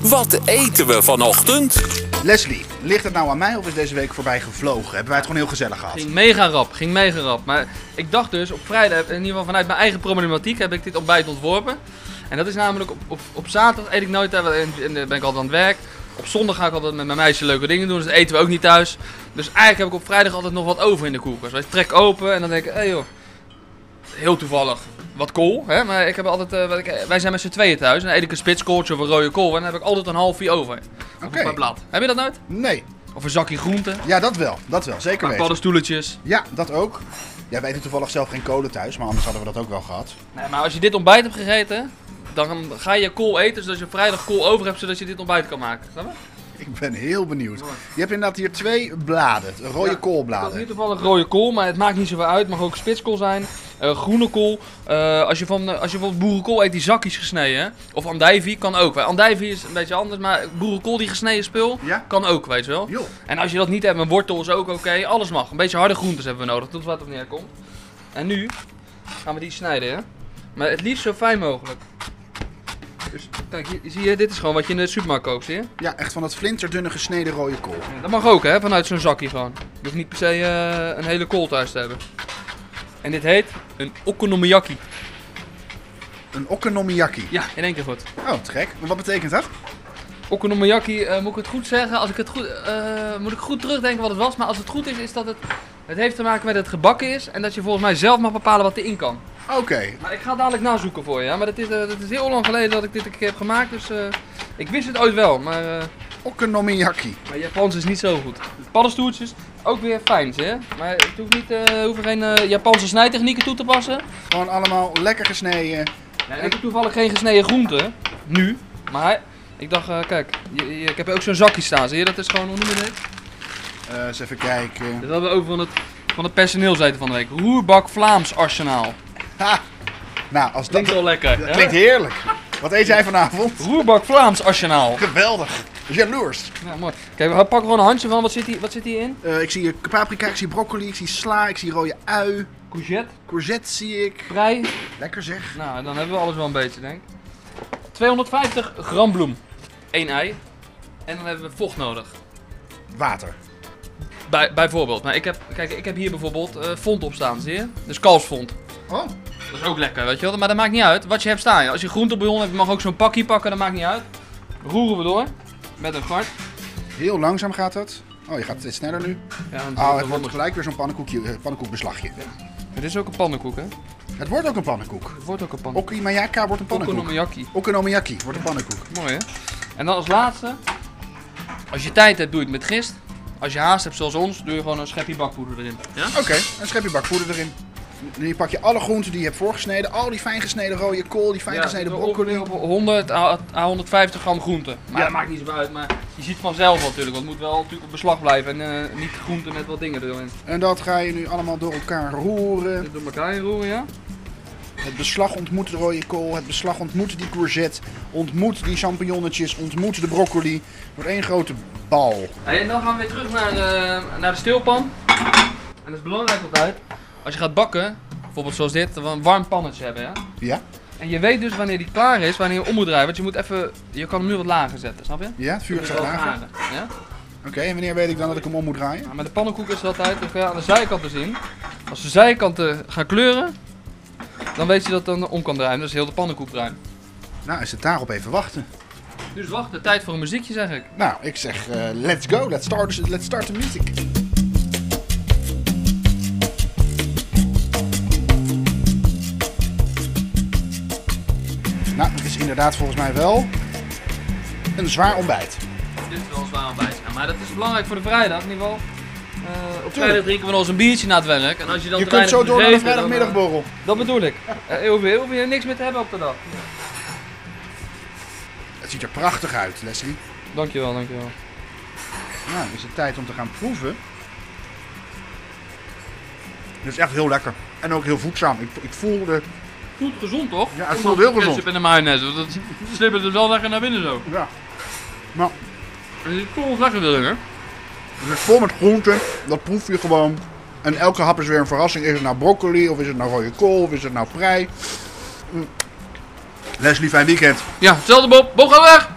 Wat eten we vanochtend? Leslie, ligt het nou aan mij of is deze week voorbij gevlogen? Hebben wij het gewoon heel gezellig gehad? Ging mega rap, ging mega rap. Maar ik dacht dus op vrijdag, in ieder geval vanuit mijn eigen problematiek, heb ik dit ontbijt ontworpen. En dat is namelijk op, op, op zaterdag eet ik nooit thuis en, en eh, ben ik altijd aan het werk. Op zondag ga ik altijd met mijn meisje leuke dingen doen, dus dat eten we ook niet thuis. Dus eigenlijk heb ik op vrijdag altijd nog wat over in de koelkast. Dus ik trek open en dan denk ik, hé joh, heel toevallig. Wat kool, hè? maar ik heb altijd, eh, wat ik, wij zijn met z'n tweeën thuis en dan eet ik een spitskooltje of een rode kool en dan heb ik altijd een halfie over. Of Oké. op mijn blad. Heb je dat nooit? Nee. Of een zakje groenten, Ja, dat wel. Dat wel. Zeker een weten. paddenstoeletjes. Ja, dat ook. Jij weet toevallig zelf geen kolen thuis, maar anders hadden we dat ook wel gehad. Nee, maar als je dit ontbijt hebt gegeten, dan ga je kool eten zodat je vrijdag kool over hebt zodat je dit ontbijt kan maken. Snap je? Ik ben heel benieuwd. Mooi. Je hebt inderdaad hier twee bladen, rode Ja, Dat is koolbladen. niet toevallig rode kool, maar het maakt niet zoveel uit. Het mag ook spitskool zijn, eh, groene kool. Eh, als, je van, eh, als je bijvoorbeeld boerenkool eet die zakjes gesneden, hè? of andijvie, kan ook. wel. Andijvie is een beetje anders, maar boerenkool die gesneden spul, Ja? kan ook, weet je wel. Joh. En als je dat niet hebt, een wortel is ook oké, alles mag. Een beetje harde groentes hebben we nodig, tot wat op neerkomt. En nu gaan we die snijden, hè. Maar het liefst zo fijn mogelijk. Dus, kijk, hier- zie je, dit is gewoon wat je in de supermarkt koopt, zie je? Ja, echt van dat flinterdunne gesneden rode kool. Ja, Dat mag ook, hè, vanuit zo'n zakje gewoon. Je hoeft niet per se eh, een hele kool thuis te hebben. En dit heet een okonomiyaki. Een okonomiyaki. Ja, in één keer goed. Oh, te gek. Maar wat betekent dat? Okonomiyaki, eh, moet ik het goed zeggen? Als ik het goed, eh, moet ik goed terugdenken wat het was? Maar als het goed is, is dat het... Het heeft te maken met dat het gebakken is en dat je volgens mij zelf mag bepalen wat erin kan. Oké. Maar ik ga het dadelijk nazoeken voor je, hè? maar dat is, eh, dat is heel lang geleden dat ik dit een keer heb gemaakt, dus eh, ik wist het ooit wel, maar, eh, Okonomiyaki. maar Japans is niet zo goed. Paddenstoertjes, ook weer fijn, zie je? Maar het hoeft niet, eh hoeven geen eh, Japanse snijtechnieken toe te passen. Gewoon allemaal lekker gesneden. En ik heb toevallig geen gesneden groente, nu, maar ik dacht, eh, kijk, je- je- ik heb ook zo'n zakje staan, zie je? Dat is gewoon, hoe noem je dit? Eh, eens even kijken. Dat hadden we ook van het, van het personeelszijde van de week. Roerbak Vlaams Arsenaal. Ha! Nou, als dat... Klinkt wel lekker, dat hè? klinkt heerlijk. Wat eet jij vanavond? Roerbak Vlaams Arsenaal. Geweldig. Jaloers. Ja, mooi. Kijk, we pakken gewoon een handje van, wat zit hier, wat zit hier in? Eh, ik zie hier paprika, ik zie broccoli, ik zie sla, ik zie rode ui. Courgette, Courgette zie ik. prei, Lekker zeg. Nou, dan hebben we alles wel een beetje, denk ik. 250 gram bloem. 1 ei. En dan hebben we vocht nodig. Water. Bij, bijvoorbeeld. Maar ik heb, kijk, ik heb hier bijvoorbeeld eh fond op staan, zie je? Dus kalfsfond. Oh. Dat is ook lekker, weet je wel. Maar dat maakt niet uit wat je hebt staan. Als je groentebouillon hebt, je mag ook zo'n pakje pakken, dat maakt niet uit. Roeren we door. Met een gart. Heel langzaam gaat dat. Oh, je gaat steeds sneller nu. Ja, want Oh, dat het wordt wordt- gelijk weer zo'n pannenkoekje, eh, pannenkoekbeslagje. Dit is ook een pannenkoek, hè? Het wordt ook een pannenkoek. Het wordt ook een pannenkoek. Okimayaka wordt een pannenkoek. Okonomiyaki. Okonomiyaki wordt een pannenkoek. Mooi, hè? En dan als laatste. Als je tijd hebt, doe je het met gist. Als je haast hebt, zoals ons, doe je gewoon een schepje bakpoeder erin. Ja? Oké, een schepje bakpoeder erin. En je pak je alle groenten die je hebt voorgesneden. Al die fijn gesneden rode kool, die fijn gesneden ja, broccoli. ongeveer op 100 à à 150 gram groente. Maar Ja. dat maakt niet zo uit, maar je ziet vanzelf wel natuurlijk. Want het moet wel natuurlijk op beslag blijven en eh, niet groente met wat dingen erin. En dat ga je nu allemaal door elkaar roeren. Dit door elkaar heen roeren, ja? Het beslag ontmoet de rode kool. Het beslag ontmoet die courgette. Ontmoet die champignonnetjes. Ontmoet de broccoli. Het wordt één grote bal. Hey, en dan gaan we weer terug naar, eh, naar de stilpan. En dat is belangrijk altijd. Als je gaat bakken, bijvoorbeeld zoals dit, dan een warm pannetje hebben, ja? Ja? En je weet dus wanneer die klaar is, wanneer je om moet draaien. Want je moet even, je kan hem nu wat lager zetten, snap je? Ja, het vuur Dus gaat wel lager. garen, Ja? Nou, Oké, en wanneer weet ik dan dat ik hem om moet draaien? Maar met de pannenkoek is het altijd, dan kan je aan de zijkanten zien. Als de zijkanten gaan kleuren, dan weet je dat het dan om kan draaien. Dus heel de pannenkoek ruim. Nou, is het daarop even wachten. Dus wacht, de tijd voor een muziekje zeg ik. Nou, ik zeg eh, let's go, let's start, let's start the music. Nou, het is inderdaad volgens mij wel een zwaar ontbijt. Dit is wel een zwaar ontbijt, ja, maar dat is belangrijk voor de vrijdag in ieder geval. Eh, op vrijdag drinken we nog eens een biertje na het werk. En als je dan Je kunt te weinig zo moet door naar de geven, dan, eh, vrijdagmiddagborrel. dat bedoel ik. Eh, heel veel, heel veel, niks meer te hebben op de dag. Het ziet er prachtig uit, Leslie. Dankjewel, dankjewel. Nou, dan is het tijd om te gaan proeven. Dit is echt heel lekker. En ook heel voedzaam. Ik, ik voel de... Voelt gezond toch? Ja, het voelt heel Ondanks de gezond. Ketchup en de mayonaise, want dat slippert het wel lekker naar binnen zo. Ja, En die kool is lekker erin hè. Het is vol met groenten, dat proef je gewoon. En elke hap is weer een verrassing. Is het nou broccoli, of is het nou rode kool, of is het nou prei? Mm. Leslie, fijn weekend. Ja, hetzelfde Bob. Bob gaat weg!